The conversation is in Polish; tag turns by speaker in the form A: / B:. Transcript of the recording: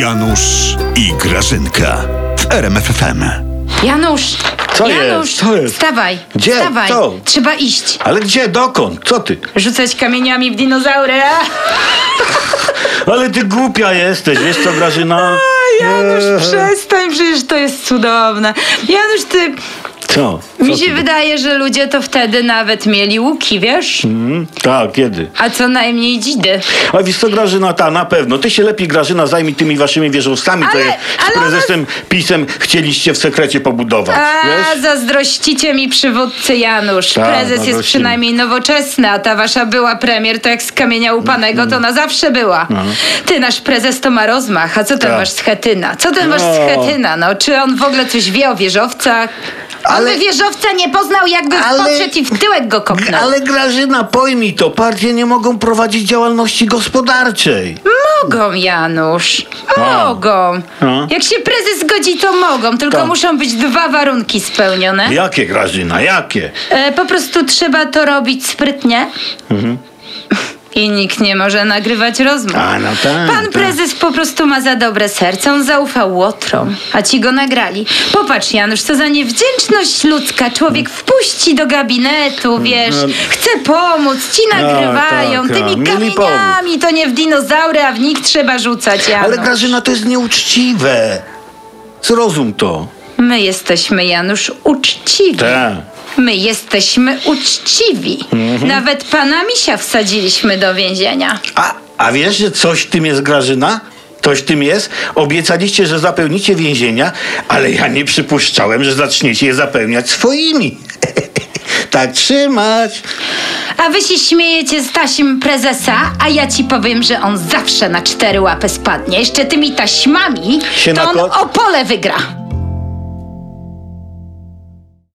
A: Janusz i Grażynka w RMFFM.
B: Janusz!
C: Co jest?
B: Janusz!
C: Co jest?
B: Wstawaj!
C: Gdzie?
B: Wstawaj!
C: Co?
B: Trzeba iść.
C: Ale gdzie, dokąd? Co ty?
B: Rzucać kamieniami w dinozaura!
C: Ale ty głupia jesteś, wiesz co, Grażyna? E,
B: Janusz, przestań, przecież to jest cudowne. Janusz, ty...
C: Co? co
B: Mi się
C: ty?
B: wydaje, że ludzie to wtedy nawet mieli łuki, wiesz?
C: Mm, tak, kiedy?
B: A co najmniej dzidy.
C: A wiesz co, Grażyna, ta, na pewno. Ty się lepiej, Grażyna, zajmij tymi waszymi wieżowcami, to
B: Ale-
C: je
B: ale
C: z
B: ona-
C: prezesem PiSem chcieliście w sekrecie pobudować,
B: A,
C: wiesz?
B: zazdrościcie mi przywódcy Janusz.
C: Tak,
B: Prezes jest
C: zazdrościmy.
B: przynajmniej nowoczesny, a ta wasza była premier to jak z kamienia łupanego, to ona zawsze była. Ty, nasz prezes to ma rozmach, a co ten
C: No. Tak.
B: wasz schetyna? Co ten wasz
C: No.
B: schetyna? No, czy on w ogóle coś wie o wieżowcach? Ale...
C: Ale-
B: On by wieżowca nie poznał, jakby
C: Ale-
B: podszedł i w tyłek go kopnął.
C: Ale Grażyna, pojmij to, partie nie mogą prowadzić działalności gospodarczej.
B: Hmm? Mogą, Janusz.
C: A.
B: Mogą.
C: A.
B: Jak się prezes zgodzi, to mogą, tylko
C: Tak.
B: muszą być dwa warunki spełnione.
C: Jakie, Grażyna, jakie?
B: E, po prostu trzeba to robić sprytnie. I nikt nie może nagrywać rozmów.
C: Mhm. A, no tak,
B: Pan
C: tak.
B: prezes po prostu ma za dobre serce, on zaufał łotrom, a ci go nagrali. Popatrz, Janusz, co za niewdzięczność ludzka. Człowiek wpuści do gabinetu, wiesz, chce pomóc, ci nagrywają,
C: Mhm. No. tak, tak.
B: tymi
C: Mieli
B: kamieniami, to nie w dinozaury, a w nich trzeba rzucać, Janusz.
C: Ale Grażyna, to jest nieuczciwe. Zrozum to.
B: My jesteśmy, Janusz, uczciwi.
C: Tak.
B: My jesteśmy uczciwi. Nawet pana misia wsadziliśmy do więzienia.
C: A, a wiesz, że coś w tym jest Grażyna? Coś w tym jest? Obiecaliście, że zapełnicie więzienia, ale ja nie przypuszczałem, że zaczniecie je zapełniać swoimi. tak trzymać.
B: A wy się śmiejecie z tasim prezesa, a ja ci powiem, że on zawsze na cztery łapy spadnie. Jeszcze tymi taśmami,
C: Się
B: to on
C: nako-
B: o pole wygra.